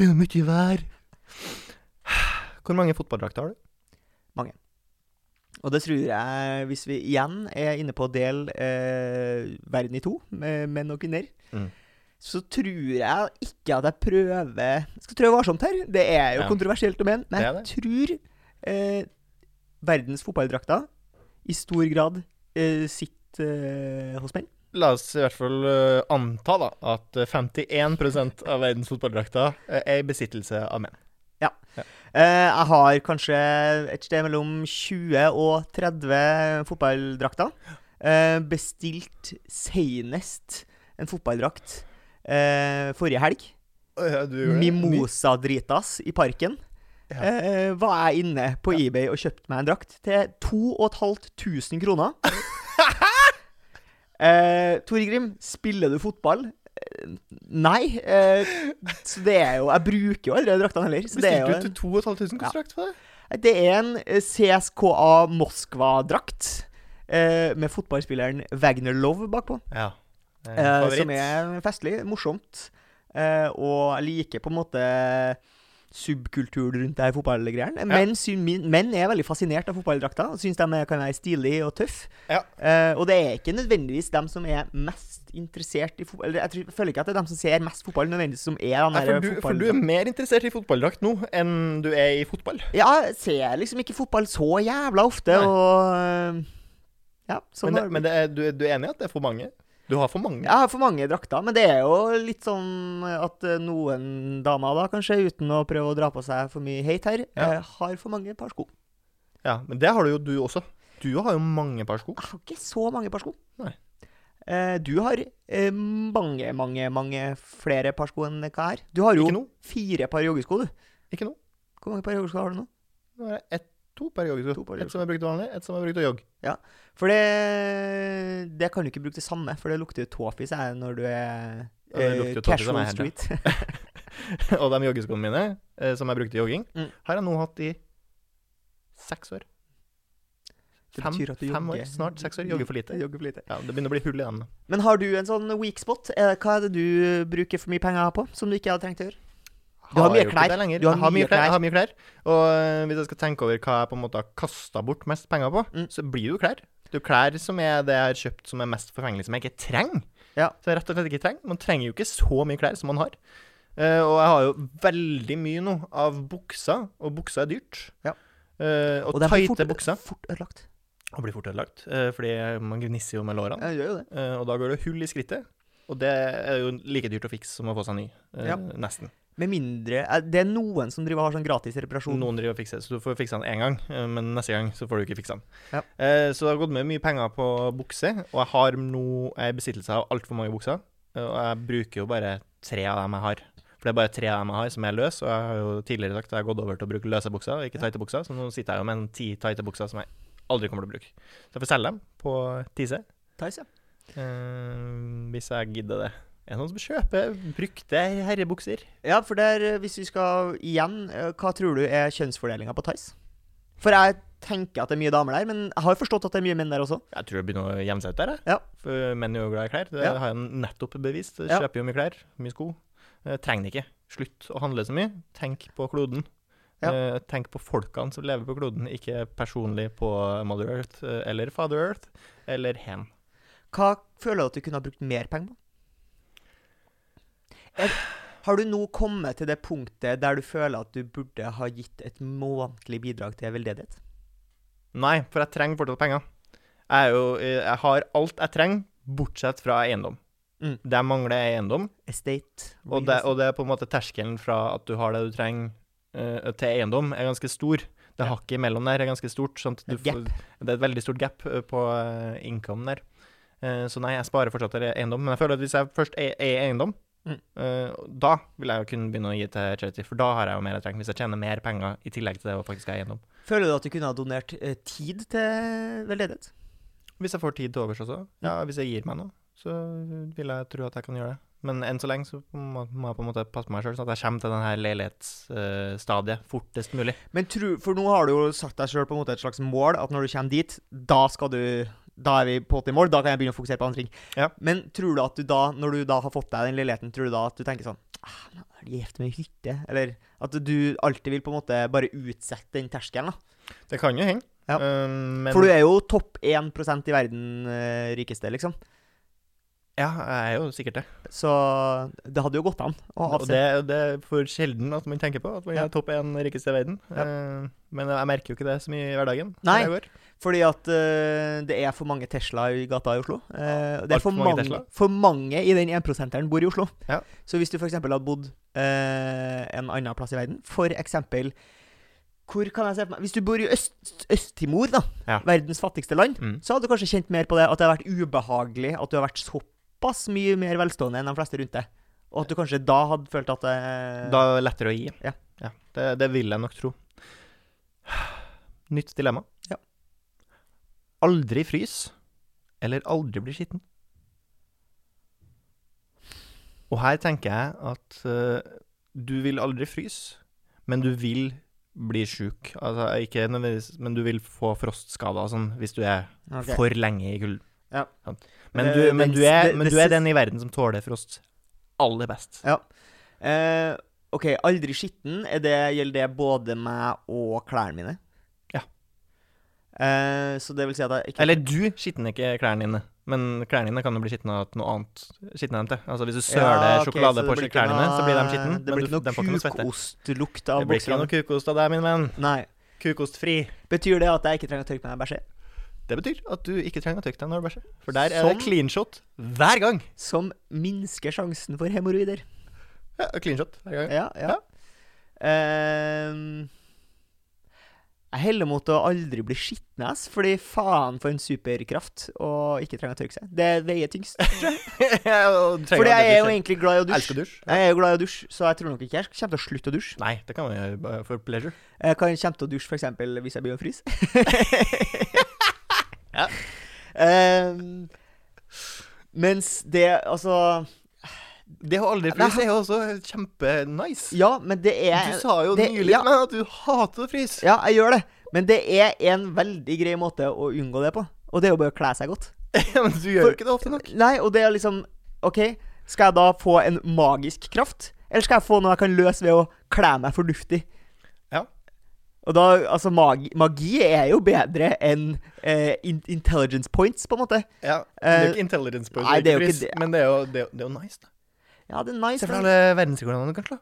[SPEAKER 2] Det er mye vær. Hvor mange fotballdrakter har du?
[SPEAKER 1] Og det tror jeg, hvis vi igjen er inne på del eh, verden i to, med menn og kvinner,
[SPEAKER 2] Mm.
[SPEAKER 1] så tror jeg ikke at jeg prøver Jeg skal trø varsomt her. Det er jo
[SPEAKER 2] Ja.
[SPEAKER 1] kontroversielt å mene, men
[SPEAKER 2] Det er
[SPEAKER 1] jeg tror eh, verdens fotballdrakter i stor grad eh, sitter eh, hos menn.
[SPEAKER 2] La oss i hvert fall eh, anta da, at eh, 51 av verdens fotballdrakter eh, er i besittelse av menn.
[SPEAKER 1] Eh, jeg har kanskje et sted mellom 20 og 30 fotballdrakter. Eh, bestilt senest en fotballdrakt eh, forrige helg. Mimosa-dritas i parken.
[SPEAKER 2] Ja.
[SPEAKER 1] Eh, var jeg inne på eBay og kjøpte meg en drakt til 2500
[SPEAKER 2] [laughs]
[SPEAKER 1] kroner. eh, Tore Grim, spiller du fotball? Eh, Nei. Eh, så det er jo Jeg bruker jo aldri draktene heller. Så det er jo
[SPEAKER 2] Bestilte
[SPEAKER 1] en-
[SPEAKER 2] du til 2500
[SPEAKER 1] Ja.
[SPEAKER 2] kontrakt på det?
[SPEAKER 1] det er en eh, CSKA Moskva-drakt eh, med fotballspilleren Wagner Love bakpå.
[SPEAKER 2] Ja. Det er
[SPEAKER 1] Eh,
[SPEAKER 2] en
[SPEAKER 1] som
[SPEAKER 2] favoritt.
[SPEAKER 1] er festlig, morsomt, eh, og jeg liker på en måte subkulturen rundt det her fotballgreiene. Men syn- min- Menn er veldig fascinert av fotballdrakter og syns de er- kan være stilige og tøffe.
[SPEAKER 2] Ja.
[SPEAKER 1] Eh, og det er ikke nødvendigvis dem som er mest interessert i fotball Eller jeg, tror, jeg føler ikke at det er dem som ser mest fotball, nødvendigvis som er den
[SPEAKER 2] Nei,
[SPEAKER 1] der
[SPEAKER 2] for, du, for du er mer interessert i fotballdrakt nå enn du er i fotball.
[SPEAKER 1] Ja, jeg ser liksom ikke fotball så jævla ofte,
[SPEAKER 2] Nei.
[SPEAKER 1] og eh, Ja, sånn
[SPEAKER 2] Men, det,
[SPEAKER 1] har det
[SPEAKER 2] men det er, du, er- du er enig i at det er for mange? Du har for mange?
[SPEAKER 1] Jeg har for mange drakter, men det er jo litt sånn at eh, noen damer, da kanskje, uten å prøve å dra på seg for mye hate her,
[SPEAKER 2] Ja.
[SPEAKER 1] eh, har for mange par sko.
[SPEAKER 2] Ja, Men det har du jo du også. Du har jo mange par sko.
[SPEAKER 1] Jeg har ikke så mange par sko.
[SPEAKER 2] Nei.
[SPEAKER 1] Eh, Du har eh, mange, mange, mange flere par sko enn hva jeg har. Du har jo
[SPEAKER 2] Ikke nå.
[SPEAKER 1] fire par joggesko, du.
[SPEAKER 2] Ikke nå.
[SPEAKER 1] Hvor mange par joggesko har du nå?
[SPEAKER 2] Nå er det ett, to per
[SPEAKER 1] To
[SPEAKER 2] joggesko.
[SPEAKER 1] per
[SPEAKER 2] Ett som er brukt vanlig, ett som er brukt å jogge.
[SPEAKER 1] For det, det kan du ikke bruke det samme, for det lukter jo tåfis eh, når du er
[SPEAKER 2] Ja, det
[SPEAKER 1] eh,
[SPEAKER 2] lukter jo tåfis av
[SPEAKER 1] casual
[SPEAKER 2] meg her, ja.
[SPEAKER 1] street.
[SPEAKER 2] [laughs]
[SPEAKER 1] [laughs]
[SPEAKER 2] og de joggeskoene mine, eh, som jeg brukte i jogging,
[SPEAKER 1] Mm.
[SPEAKER 2] har jeg nå hatt i seks år.
[SPEAKER 1] Det
[SPEAKER 2] Fem,
[SPEAKER 1] betyr at du
[SPEAKER 2] fem
[SPEAKER 1] jogger-
[SPEAKER 2] år, snart seks år. Jogger for
[SPEAKER 1] [laughs]
[SPEAKER 2] lite.
[SPEAKER 1] Jogger for lite.
[SPEAKER 2] Ja, det begynner å bli hull i dem. nå.
[SPEAKER 1] Men har du en sånn weak spot? Eh, Hva er det du bruker for mye penger på, som du ikke hadde trengt å gjøre? Du har mye
[SPEAKER 2] jo ikke
[SPEAKER 1] klær.
[SPEAKER 2] det lenger.
[SPEAKER 1] Du har
[SPEAKER 2] Jeg har
[SPEAKER 1] mye
[SPEAKER 2] mye klær.
[SPEAKER 1] klær.
[SPEAKER 2] Jeg har mye klær. Og eh, hvis jeg skal tenke over hva jeg på en måte har kasta bort mest penger på,
[SPEAKER 1] Mm.
[SPEAKER 2] så blir det jo klær. Det er jo klær som er det jeg har kjøpt som er mest forfengelig, som jeg ikke trenger.
[SPEAKER 1] Ja.
[SPEAKER 2] Som jeg rett og slett ikke trenger. Man trenger jo ikke så mye klær som man har. Eh, og jeg har jo veldig mye nå av bukser, og bukser er dyrt.
[SPEAKER 1] Ja.
[SPEAKER 2] Eh, og
[SPEAKER 1] de blir
[SPEAKER 2] tighte
[SPEAKER 1] fort-
[SPEAKER 2] bukser.
[SPEAKER 1] Fort ødelagt.
[SPEAKER 2] Og blir fort ødelagt, eh, fordi man gnisser jo med lårene.
[SPEAKER 1] Ja, gjør jo det.
[SPEAKER 2] Eh, og da går det hull i skrittet, og det er jo like dyrt å fikse som å få seg ny. eh,
[SPEAKER 1] Ja.
[SPEAKER 2] Nesten.
[SPEAKER 1] Med mindre eh, Det er noen som driver og har sånn gratis reparasjon.
[SPEAKER 2] Noen driver og fikser det, så du får fiksa den én gang, eh, men neste gang så får du ikke fiksa den.
[SPEAKER 1] Ja.
[SPEAKER 2] Eh, så det har gått med mye penger på bukser, og jeg har nå jeg er i besittelse av altfor mange bukser. eh, Og jeg bruker jo bare tre av dem jeg har. For det er bare tre av dem jeg har som er løs, og jeg har jo tidligere sagt at jeg har gått over til å bruke løse bukser, og ikke tighte bukser, så nå sitter jeg jo med en ti tighte bukser som jeg aldri kommer til å bruke. Så jeg får selge dem på Tise.
[SPEAKER 1] Tights, ja.
[SPEAKER 2] Eh, hvis jeg gidder det. Er det noen som kjøper brukte herrebukser?
[SPEAKER 1] ja, for der, eh, hvis vi skal igjen eh, Hva tror du er kjønnsfordelinga på Tights? For jeg tenker at det er mye damer der, men jeg har jo forstått at det er mye menn der også.
[SPEAKER 2] Jeg tror det begynner å gjemme seg ut der. jeg.
[SPEAKER 1] Ja.
[SPEAKER 2] For menn er jo glad i klær. Det
[SPEAKER 1] Ja.
[SPEAKER 2] har jeg nettopp bevist. Jeg
[SPEAKER 1] Ja.
[SPEAKER 2] Kjøper jo mye klær, mye sko. Eh, trenger det ikke. Slutt å handle så mye. Tenk på kloden.
[SPEAKER 1] Ja.
[SPEAKER 2] Eh, tenk på folkene som lever på kloden, ikke personlig på Mother Earth eh, eller Father Earth eller hen.
[SPEAKER 1] Hva føler du at du kunne ha brukt mer penger på? Er- Har du nå kommet til det punktet der du føler at du burde ha gitt et månedlig bidrag til veldedighet?
[SPEAKER 2] Nei, for jeg trenger fortsatt penger. Jeg, er jo, eh, jeg har alt jeg trenger, bortsett fra eiendom.
[SPEAKER 1] Mm.
[SPEAKER 2] Der mangler jeg eiendom.
[SPEAKER 1] Estate.
[SPEAKER 2] Og det, og det er på en måte terskelen fra at du har det du trenger eh, til eiendom, er ganske stor. Det
[SPEAKER 1] Ja.
[SPEAKER 2] hakket imellom der er ganske stort. Sånn at du
[SPEAKER 1] Et gap.
[SPEAKER 2] får- det er et veldig stort gap eh, på uh, income der. Eh, så nei, jeg sparer fortsatt til eiendom. Men jeg føler at hvis jeg først er er eiendom,
[SPEAKER 1] Mm.
[SPEAKER 2] eh, da vil jeg jo kunne begynne å gi til charity, for da har jeg jo mer jeg trenger. Hvis jeg tjener mer penger i tillegg til det å faktisk ha eiendom.
[SPEAKER 1] Føler du at du kunne ha donert eh, tid til veldedighet?
[SPEAKER 2] Hvis jeg får tid til overs også. Ja, hvis jeg gir meg nå, så vil jeg tro at jeg kan gjøre det. Men enn så lenge så må må jeg på en måte passe på meg sjøl, sånn at jeg kommer til den her leilighetsstadiet eh, fortest mulig.
[SPEAKER 1] Men tru, for nå har du jo satt deg sjøl på en måte et slags mål, at når du kommer dit, da skal du da er vi på åtte i mål, da kan jeg begynne å fokusere på andre ting.
[SPEAKER 2] Ja.
[SPEAKER 1] Men tror du at du da, når du da har fått deg den leiligheten, tror du da at du tenker sånn ah, men er det gjevt med hytte? Eller at du alltid vil på en måte bare utsette den terskelen, da.
[SPEAKER 2] Det kan jo hende.
[SPEAKER 1] Ja.
[SPEAKER 2] Eh, men
[SPEAKER 1] For du er jo topp 1 i verden eh, rikeste, liksom.
[SPEAKER 2] Ja, jeg er jo sikkert det.
[SPEAKER 1] Så det hadde jo gått an å
[SPEAKER 2] Og
[SPEAKER 1] avse.
[SPEAKER 2] det, det er for sjelden at man tenker på at man
[SPEAKER 1] Ja.
[SPEAKER 2] er topp én rikeste i verden.
[SPEAKER 1] Ja.
[SPEAKER 2] Eh, men jeg merker jo ikke det så mye i hverdagen. når
[SPEAKER 1] Nei.
[SPEAKER 2] jeg går.
[SPEAKER 1] Fordi at eh, det er for mange Tesla i gata i Oslo. Eh, det er
[SPEAKER 2] Alt for
[SPEAKER 1] for
[SPEAKER 2] mange
[SPEAKER 1] mange,
[SPEAKER 2] Tesla.
[SPEAKER 1] for mange i den 1%-eren bor i Oslo.
[SPEAKER 2] Ja.
[SPEAKER 1] Så hvis du f.eks. hadde bodd eh, en annen plass i verden, f.eks. Hvor kan jeg se på meg Hvis du bor i Øst- Øst-Timor, da,
[SPEAKER 2] Ja.
[SPEAKER 1] verdens fattigste land,
[SPEAKER 2] Mm.
[SPEAKER 1] så hadde du kanskje kjent mer på det at det har vært ubehagelig at du har vært såpass mye mer velstående enn de fleste rundt deg. Og at du kanskje da hadde følt at eh,
[SPEAKER 2] Da er det lettere å gi.
[SPEAKER 1] Ja.
[SPEAKER 2] Det, det vil jeg nok tro. Nytt dilemma.
[SPEAKER 1] Ja.
[SPEAKER 2] Aldri frys, eller aldri bli skitten. Og her tenker jeg at eh, du vil aldri fryse, men du vil bli sjuk. Altså, ikke nødvendigvis, men du vil få frostskader og sånn hvis du er
[SPEAKER 1] Ok.
[SPEAKER 2] for lenge i kulden.
[SPEAKER 1] Ja.
[SPEAKER 2] Sant? Men,
[SPEAKER 1] Det-
[SPEAKER 2] du, Eh, men,
[SPEAKER 1] det-
[SPEAKER 2] du er,
[SPEAKER 1] det-
[SPEAKER 2] men
[SPEAKER 1] det
[SPEAKER 2] du er
[SPEAKER 1] siste-
[SPEAKER 2] den i verden som tåler frost aller best.
[SPEAKER 1] Eh, OK, aldri skitten. Er det, gjelder det både meg og klærne mine?
[SPEAKER 2] Ja.
[SPEAKER 1] Eh, så det vil si at jeg ikke
[SPEAKER 2] Eller du skitner ikke klærne dine, men klærne dine kan jo bli skitne av at noe annet skitner dem til. Altså hvis du søler
[SPEAKER 1] Ja, ok,
[SPEAKER 2] sjokolade
[SPEAKER 1] så
[SPEAKER 2] på
[SPEAKER 1] det blir ikke
[SPEAKER 2] klærne dine,
[SPEAKER 1] noe-
[SPEAKER 2] så blir de skitne.
[SPEAKER 1] Det blir
[SPEAKER 2] men du- de
[SPEAKER 1] ikke
[SPEAKER 2] får
[SPEAKER 1] noe
[SPEAKER 2] svette.
[SPEAKER 1] kukostlukt
[SPEAKER 2] Det
[SPEAKER 1] av
[SPEAKER 2] blir ikke
[SPEAKER 1] buksene.
[SPEAKER 2] noe kukost av deg, min venn.
[SPEAKER 1] Nei.
[SPEAKER 2] Kukostfri.
[SPEAKER 1] Betyr det at jeg ikke trenger å tørke meg med bæsje?
[SPEAKER 2] Det betyr at du ikke trenger å tørke deg når du bæsjer. For der er
[SPEAKER 1] Som-
[SPEAKER 2] det clean shot hver gang.
[SPEAKER 1] Som minsker sjansen for hemoroider.
[SPEAKER 2] Ja, clean shot hver [laughs] gang.
[SPEAKER 1] Ja, ja. Ehm, jeg heller mot å aldri bli skitten, ass. Fordi faen for en superkraft å ikke trenge å tørke seg. Det veier tyngst. Fordi jeg er jo egentlig glad i å dusje.
[SPEAKER 2] Elsker dusj.
[SPEAKER 1] Jeg er jo glad i å dusje, så jeg tror nok ikke jeg kommer til å slutte å dusje.
[SPEAKER 2] Nei, det kan man gjøre bare for pleasure.
[SPEAKER 1] Jeg kan kommer til å dusje f.eks. hvis jeg blir å fryse.
[SPEAKER 2] [laughs] Ja.
[SPEAKER 1] Ehm, mens det Altså
[SPEAKER 2] Det å aldri
[SPEAKER 1] Nei,
[SPEAKER 2] fryse er jo også kjempenice.
[SPEAKER 1] Ja, men det er
[SPEAKER 2] Du sa jo
[SPEAKER 1] det-
[SPEAKER 2] nylig
[SPEAKER 1] ja.
[SPEAKER 2] til meg at du hater å fryse.
[SPEAKER 1] Ja, jeg gjør det. Men det er en veldig grei måte å unngå det på. Og det er jo bare å kle seg godt.
[SPEAKER 2] [laughs] Men du gjør
[SPEAKER 1] For-
[SPEAKER 2] jo ikke det ofte nok.
[SPEAKER 1] Nei, og det er liksom OK, skal jeg da få en magisk kraft? Eller skal jeg få noe jeg kan løse ved å kle meg fornuftig?
[SPEAKER 2] Ja.
[SPEAKER 1] Og da, altså, magi, magi er jo bedre enn eh, in intelligence points, på en måte.
[SPEAKER 2] Ja, det er
[SPEAKER 1] Eh,
[SPEAKER 2] jo ikke intelligence på
[SPEAKER 1] nei, det er jo ikke
[SPEAKER 2] pris,
[SPEAKER 1] det.
[SPEAKER 2] men det er jo, det er, jo- det er jo nice. da.
[SPEAKER 1] Ja, det er nice.
[SPEAKER 2] Se for
[SPEAKER 1] men-
[SPEAKER 2] deg alle verdensrekordene du kan slå.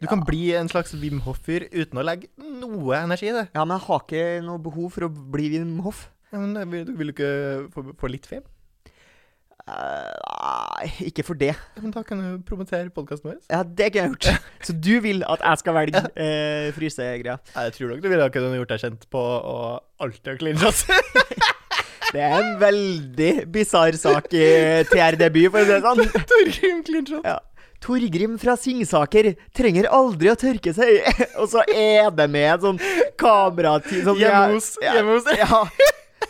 [SPEAKER 2] Du kan bli en slags Wim Hoff-fyr uten å legge noe energi i det.
[SPEAKER 1] Ja, men jeg har ikke noe behov for å bli Wim Hof.
[SPEAKER 2] Ja, men det vil- du vil jo ikke få, få litt fame?
[SPEAKER 1] Eh, Nei, ikke for det.
[SPEAKER 2] Ja, Men da kan du promotere podkasten vår.
[SPEAKER 1] Ja, det kunne jeg
[SPEAKER 2] [laughs]
[SPEAKER 1] gjort. Så du vil at jeg skal velge eh, frysegreia.
[SPEAKER 2] Jeg tror nok du ville ha kunnet gjort deg kjent på å alltid ha clean shots. [laughs]
[SPEAKER 1] Det er en veldig bisarr sak i TR-debut, for å si det sånn.
[SPEAKER 2] Torgrim clean shot.
[SPEAKER 1] Ja. Torgrim fra Singsaker trenger aldri å tørke seg. [laughs] Og så er det med et sånn kamerateam sånn,
[SPEAKER 2] Hjemme hos- hjemme hos-
[SPEAKER 1] ja.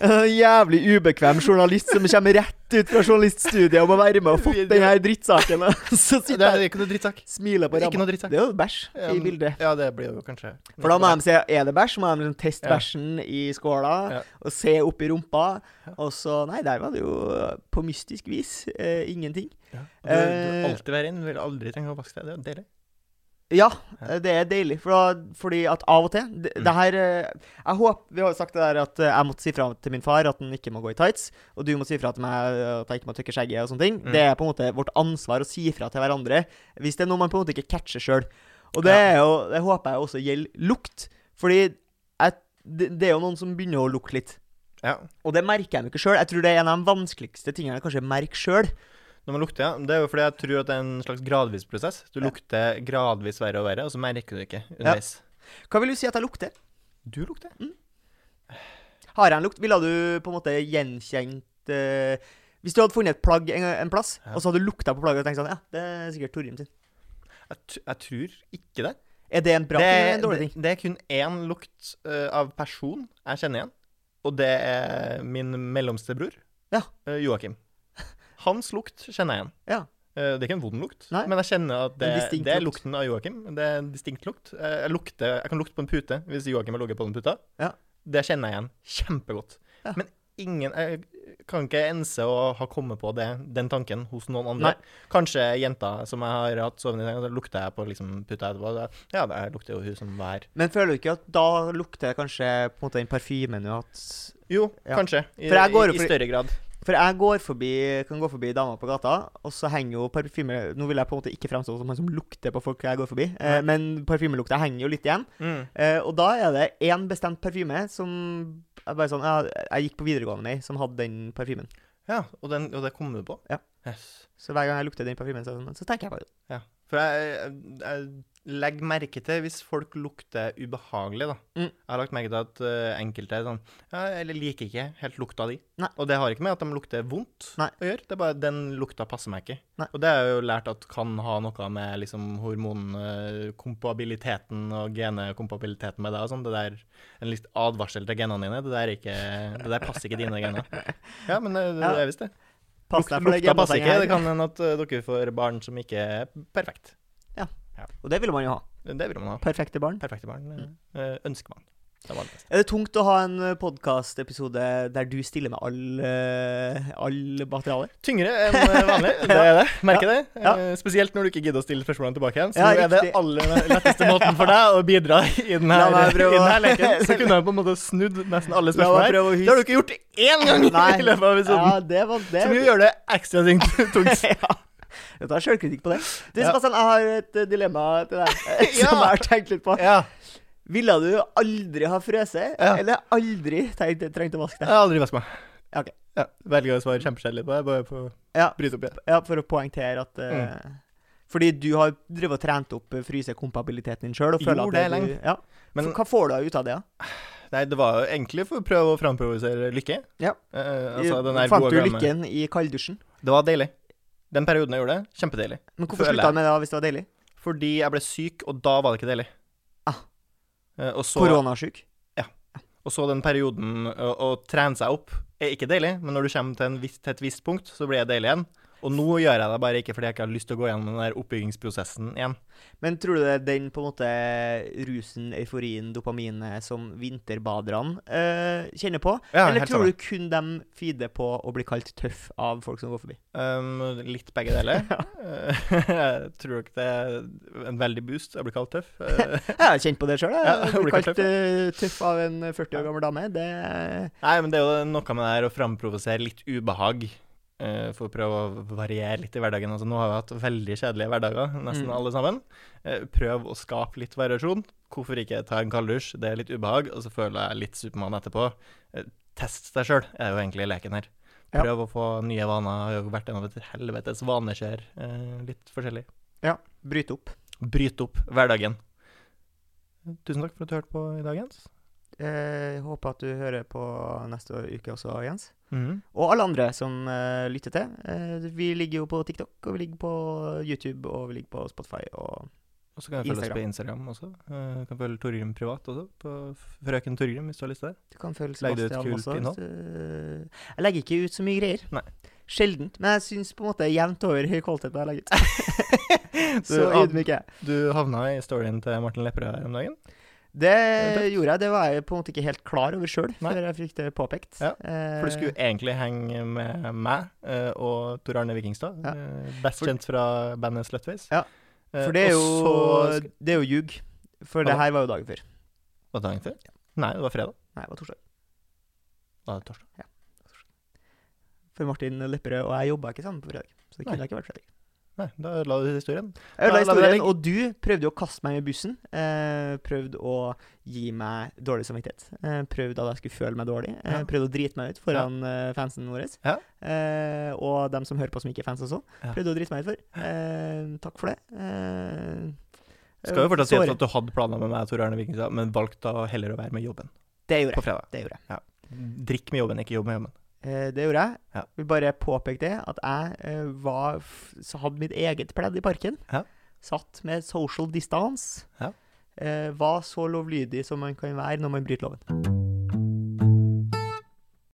[SPEAKER 1] En jævlig ubekvem journalist som kommer rett ut fra journaliststudiet og må være med og få den her drittsaken. og [laughs] Så
[SPEAKER 2] Det
[SPEAKER 1] sitter jeg
[SPEAKER 2] er ikke noe drittsak.
[SPEAKER 1] Smiler på
[SPEAKER 2] Ikke
[SPEAKER 1] ramma.
[SPEAKER 2] noe drittsak.
[SPEAKER 1] Det er jo bæsj
[SPEAKER 2] Ja,
[SPEAKER 1] i
[SPEAKER 2] men-
[SPEAKER 1] bildet.
[SPEAKER 2] Ja, det blir jo kanskje
[SPEAKER 1] For da må de se er det bæsj, så må de liksom teste
[SPEAKER 2] Ja.
[SPEAKER 1] bæsjen i skåla
[SPEAKER 2] Ja.
[SPEAKER 1] og se opp i rumpa. Og så Nei, der var det jo på mystisk vis eh, ingenting.
[SPEAKER 2] Ja. Du, du vil alltid være inn, du vil aldri trenge å vaske deg. Det er jo deilig.
[SPEAKER 1] Ja,
[SPEAKER 2] Ja. Mm.
[SPEAKER 1] det er deilig, for da, fordi at av og til Det, det her eh, Jeg håper Vi har jo sagt det der at eh, jeg måtte si fra til min far at han ikke må gå i tights, og du må si fra til meg eh, at jeg ikke må tørke skjegget og sånne ting.
[SPEAKER 2] Mm.
[SPEAKER 1] Det er på en måte vårt ansvar å si fra til hverandre hvis det er noe man på en måte ikke catcher sjøl. Og det, er jo, det håper jeg også gjelder lukt, fordi jeg, det, det er jo noen som begynner å lukte litt.
[SPEAKER 2] Ja.
[SPEAKER 1] Og det merker jeg jo ikke sjøl. Jeg tror det er en av de vanskeligste tingene jeg kanskje merker sjøl.
[SPEAKER 2] Når man lukter, ja. Det er jo fordi jeg tror at det er en slags gradvis prosess. Du
[SPEAKER 1] Ja.
[SPEAKER 2] lukter gradvis verre og verre, og så merker du det ikke underveis.
[SPEAKER 1] Hva vil du si at jeg lukter?
[SPEAKER 2] Du lukter.
[SPEAKER 1] Har jeg en lukt? Ville du på en måte gjenkjent eh, Hvis du hadde funnet et plagg en, en plass,
[SPEAKER 2] Ja.
[SPEAKER 1] og så hadde du lukta på plagget og tenkt sånn Ja, det er sikkert Torgrim sin.
[SPEAKER 2] Jeg, t jeg tror ikke det.
[SPEAKER 1] Er det en bra
[SPEAKER 2] det,
[SPEAKER 1] ting eller en dårlig ting?
[SPEAKER 2] Det, det er kun én lukt eh, av person jeg kjenner igjen, og det er min mellomste bror,
[SPEAKER 1] Ja.
[SPEAKER 2] eh, Joakim. Hans lukt kjenner jeg igjen.
[SPEAKER 1] Ja.
[SPEAKER 2] Eh, Det er ikke en vond lukt,
[SPEAKER 1] Nei.
[SPEAKER 2] men jeg kjenner at det,
[SPEAKER 1] En distinkt
[SPEAKER 2] det er
[SPEAKER 1] lukt.
[SPEAKER 2] lukten av Joakim. Det er en distinkt lukt. Eh, Jeg, lukter, jeg kan lukte på en pute hvis Joakim har ligget på den puta.
[SPEAKER 1] Ja.
[SPEAKER 2] Det kjenner jeg igjen kjempegodt.
[SPEAKER 1] Ja.
[SPEAKER 2] Men ingen Jeg kan ikke ense å ha kommet på det, den tanken hos noen andre. Kanskje jenta som jeg har hatt sovende i senga, så lukter jeg på liksom puta etterpå. og da- Ja, det lukter jo hun som vær.
[SPEAKER 1] Men føler du ikke at da lukter kanskje på en måte den parfymen du har hatt
[SPEAKER 2] Jo,
[SPEAKER 1] Ja.
[SPEAKER 2] kanskje. I,
[SPEAKER 1] For jeg går jo
[SPEAKER 2] i,
[SPEAKER 1] for-
[SPEAKER 2] I større grad.
[SPEAKER 1] For jeg går forbi, kan gå forbi damer på gata, og så henger jo parfyme Nå vil jeg på en måte ikke fremstå som han som lukter på folk jeg går forbi, eh,
[SPEAKER 2] Nei.
[SPEAKER 1] men parfymelukta henger jo litt igjen.
[SPEAKER 2] Mm.
[SPEAKER 1] Eh, og da er det én bestemt parfyme som jeg bare sånn, jeg, jeg gikk på videregående i, som hadde den parfymen.
[SPEAKER 2] Ja, og, den, og det kom du på?
[SPEAKER 1] Ja.
[SPEAKER 2] Yes.
[SPEAKER 1] Så hver gang jeg lukter den parfymen, så, er det sånn, så tenker jeg på det.
[SPEAKER 2] Ja. For jeg, jeg, jeg legger merke til hvis folk lukter ubehagelig, da.
[SPEAKER 1] Mm.
[SPEAKER 2] Jeg har lagt merke til at eh, enkelte er sånn ja, Eller liker ikke helt lukta di.
[SPEAKER 1] Nei.
[SPEAKER 2] Og det har ikke med at de lukter vondt
[SPEAKER 1] Nei.
[SPEAKER 2] å gjøre. Det er bare den lukta passer meg ikke.
[SPEAKER 1] Nei.
[SPEAKER 2] Og det har jeg jo lært at kan ha noe med liksom hormonkompabiliteten og genekompabiliteten med deg og sånn. Det der En litt advarsel til genene dine. Det der, er ikke, det der passer ikke dine
[SPEAKER 1] [laughs]
[SPEAKER 2] gener. Ja, men det, det
[SPEAKER 1] Ja.
[SPEAKER 2] er visst det.
[SPEAKER 1] Pass
[SPEAKER 2] Luk-
[SPEAKER 1] deg for det
[SPEAKER 2] lukta passer
[SPEAKER 1] genbandet
[SPEAKER 2] ikke.
[SPEAKER 1] her.
[SPEAKER 2] Det kan hende at eh, dere får barn som ikke er perfekt.
[SPEAKER 1] Og det vil man jo ha.
[SPEAKER 2] Det vil man ha.
[SPEAKER 1] Perfekte barn.
[SPEAKER 2] Perfekte barn eh, eh, ønsker man. Det var det beste.
[SPEAKER 1] Er det tungt å ha en podkastepisode der du stiller med all, eh, all materiale?
[SPEAKER 2] Tyngre enn eh,
[SPEAKER 1] [laughs]
[SPEAKER 2] vanlig, det er det. [laughs] Merker det.
[SPEAKER 1] Ja.
[SPEAKER 2] Eh, Spesielt når du ikke gidder å stille spørsmålene tilbake igjen. Så
[SPEAKER 1] Ja,
[SPEAKER 2] nå er det
[SPEAKER 1] riktig.
[SPEAKER 2] aller letteste måten for deg å bidra i den
[SPEAKER 1] La
[SPEAKER 2] her,
[SPEAKER 1] meg
[SPEAKER 2] i
[SPEAKER 1] prøve
[SPEAKER 2] den her
[SPEAKER 1] å-
[SPEAKER 2] leken. Så kunne jeg på en måte snudd nesten alle
[SPEAKER 1] La meg
[SPEAKER 2] spørsmålene her.
[SPEAKER 1] prøve å
[SPEAKER 2] Det har du
[SPEAKER 1] huske.
[SPEAKER 2] ikke gjort én gang
[SPEAKER 1] Nei.
[SPEAKER 2] i løpet av episoden.
[SPEAKER 1] Ja, det var det.
[SPEAKER 2] Som jo gjør det ekstra [laughs] tyng- tungt.
[SPEAKER 1] [laughs] ja. Jeg tar sjølkritikk på det. Du,
[SPEAKER 2] Ja.
[SPEAKER 1] Sebastian, jeg har et eh, dilemma til deg eh,
[SPEAKER 2] [laughs]
[SPEAKER 1] som
[SPEAKER 2] Ja.
[SPEAKER 1] jeg har tenkt litt på.
[SPEAKER 2] Ja.
[SPEAKER 1] Ville du aldri ha frøset,
[SPEAKER 2] Ja.
[SPEAKER 1] eller aldri tenkt, trengt å vaske
[SPEAKER 2] Jeg
[SPEAKER 1] deg?
[SPEAKER 2] har aldri vasket meg.
[SPEAKER 1] Ja, ok.
[SPEAKER 2] Ja, Velger å svare kjempekjedelig på det. Bare for å
[SPEAKER 1] Ja.
[SPEAKER 2] bryte opp igjen.
[SPEAKER 1] Ja, for å poengtere at eh,
[SPEAKER 2] Mm.
[SPEAKER 1] Fordi du har drevet og trent opp eh, frysekompabiliteten din sjøl.
[SPEAKER 2] Jo, det er lenge.
[SPEAKER 1] Ja.
[SPEAKER 2] Men-
[SPEAKER 1] Men hva får du ut av det, da?
[SPEAKER 2] Nei, det var jo egentlig for å prøve å framprovosere lykke.
[SPEAKER 1] Ja.
[SPEAKER 2] Eh, altså, den der
[SPEAKER 1] Fant
[SPEAKER 2] gode
[SPEAKER 1] du
[SPEAKER 2] gamle-
[SPEAKER 1] lykken i kalddusjen?
[SPEAKER 2] Det var deilig. Den perioden jeg gjorde det, kjempedeilig.
[SPEAKER 1] Men hvorfor
[SPEAKER 2] Føler jeg.
[SPEAKER 1] slutta du med det da, hvis det var deilig?
[SPEAKER 2] Fordi jeg ble syk, og da var det ikke deilig.
[SPEAKER 1] Ah.
[SPEAKER 2] Eh, og, så,
[SPEAKER 1] Koronasjuk?
[SPEAKER 2] og så den perioden å, å trene seg opp er ikke deilig, men når du kommer til, en viss, til et visst punkt, så blir det deilig igjen. Og nå gjør jeg det bare ikke fordi jeg ikke har lyst til å gå gjennom den der oppbyggingsprosessen igjen.
[SPEAKER 1] Men tror du det er den på en måte rusen, euforien, dopaminet som vinterbaderne eh, kjenner på?
[SPEAKER 2] Ja,
[SPEAKER 1] Eller
[SPEAKER 2] helt
[SPEAKER 1] tror
[SPEAKER 2] sammen.
[SPEAKER 1] du kun de feeder på å bli kalt tøff av folk som går forbi?
[SPEAKER 2] Um, litt begge [laughs] deler. Eh, jeg tror ikke det er en veldig boost. Jeg blir kalt tøff. Eh,
[SPEAKER 1] Jeg har kjent på det sjøl.
[SPEAKER 2] Ja,
[SPEAKER 1] Jeg
[SPEAKER 2] blir
[SPEAKER 1] blir
[SPEAKER 2] kalt
[SPEAKER 1] kalt eh, tøff av en 40 år gammel dame. Det
[SPEAKER 2] Nei, men det er jo noe med det her å framprovosere litt ubehag. eh, for å prøve å variere litt i hverdagen. Altså, nå har vi hatt veldig kjedelige hverdager, nesten
[SPEAKER 1] Mm.
[SPEAKER 2] alle sammen. Eh, prøv å skape litt variasjon. Hvorfor ikke ta en kalddusj? Det er litt ubehag, og så føler jeg litt Supermann etterpå. Eh, test deg sjøl, er jo egentlig leken her.
[SPEAKER 1] Ja.
[SPEAKER 2] Prøv å få nye vaner. Jeg har jo vært gjennom et helvetes vanekjør. eh, litt forskjellig.
[SPEAKER 1] bryter opp.
[SPEAKER 2] Bryt opp hverdagen. Tusen takk for at du hørte på i dag, Jens.
[SPEAKER 1] Eh, håper at du hører på neste uke også, Jens.
[SPEAKER 2] Mhm.
[SPEAKER 1] Og alle andre som eh, lytter til. Eh, vi ligger jo på TikTok, og vi ligger på YouTube, og vi ligger på Spotify og
[SPEAKER 2] Og så kan jeg følge oss
[SPEAKER 1] Instagram.
[SPEAKER 2] på Instagram også. Eh, kan følge Torgrim privat også, på f- Frøken Torgrim, hvis du har lyst
[SPEAKER 1] [laughs]
[SPEAKER 2] til det.
[SPEAKER 1] Du kan følge
[SPEAKER 2] Legger du ut
[SPEAKER 1] Sebastian
[SPEAKER 2] kult
[SPEAKER 1] også.
[SPEAKER 2] innhold?
[SPEAKER 1] hvis du- Jeg legger ikke ut så mye greier.
[SPEAKER 2] Nei.
[SPEAKER 1] Sjeldent. Men jeg syns på en måte jevnt over høy kvalitet jeg legger
[SPEAKER 2] [laughs]
[SPEAKER 1] ut. så
[SPEAKER 2] Du, Ad-
[SPEAKER 1] ydmyk er jeg.
[SPEAKER 2] Du havna i storyen til Martin Lepperød her om dagen.
[SPEAKER 1] Det gjorde jeg. Det var jeg på en måte ikke helt klar over sjøl
[SPEAKER 2] Nei.
[SPEAKER 1] før jeg fikk det påpekt.
[SPEAKER 2] Ja,
[SPEAKER 1] Eh,
[SPEAKER 2] For du skulle egentlig henge med meg eh, og Tor Arne Vikingstad.
[SPEAKER 1] Ja.
[SPEAKER 2] eh, Best
[SPEAKER 1] For-
[SPEAKER 2] kjent fra bandet Slutface.
[SPEAKER 1] Ja.
[SPEAKER 2] Eh,
[SPEAKER 1] for det
[SPEAKER 2] og
[SPEAKER 1] er jo,
[SPEAKER 2] så sk-
[SPEAKER 1] det er jo ljug. For
[SPEAKER 2] Hva
[SPEAKER 1] det
[SPEAKER 2] da?
[SPEAKER 1] her var jo dagen før.
[SPEAKER 2] Var det dagen før? Nei, det var fredag.
[SPEAKER 1] Nei, det var torsdag.
[SPEAKER 2] Da var det torsdag.
[SPEAKER 1] For Martin Lepperød og jeg jobba ikke sammen på fredag. Så det kunne
[SPEAKER 2] Nei.
[SPEAKER 1] ikke vært fredag.
[SPEAKER 2] Nei, da la du ut historien.
[SPEAKER 1] Jeg ødela
[SPEAKER 2] Da lar vi det
[SPEAKER 1] historien, og du prøvde jo å kaste meg i bussen. Eh, prøvde å gi meg dårlig samvittighet. Eh, prøvde at jeg skulle føle meg dårlig. Eh,
[SPEAKER 2] Ja.
[SPEAKER 1] Prøvde å drite meg ut foran eh, fansen vår.
[SPEAKER 2] Ja.
[SPEAKER 1] Eh, og dem som hører på som ikke er fans også.
[SPEAKER 2] Ja.
[SPEAKER 1] Prøvde å drite meg ut for. Eh, takk for det. Eh,
[SPEAKER 2] Skal jo fortsatt si
[SPEAKER 1] såre.
[SPEAKER 2] at du hadde planer med meg, Tor Arne Vikingstad, men valgte da heller å være med jobben
[SPEAKER 1] Det gjorde
[SPEAKER 2] på
[SPEAKER 1] jeg.
[SPEAKER 2] fredag.
[SPEAKER 1] Det gjorde jeg.
[SPEAKER 2] Drikk med jobben, ikke jobb med jobben.
[SPEAKER 1] Eh, det gjorde jeg.
[SPEAKER 2] Ja.
[SPEAKER 1] Vil bare påpeke det, at jeg eh, var f så hadde mitt eget pledd i parken.
[SPEAKER 2] Ja.
[SPEAKER 1] Satt med social distance.
[SPEAKER 2] Ja.
[SPEAKER 1] Eh, var så lovlydig som man kan være når man bryter loven.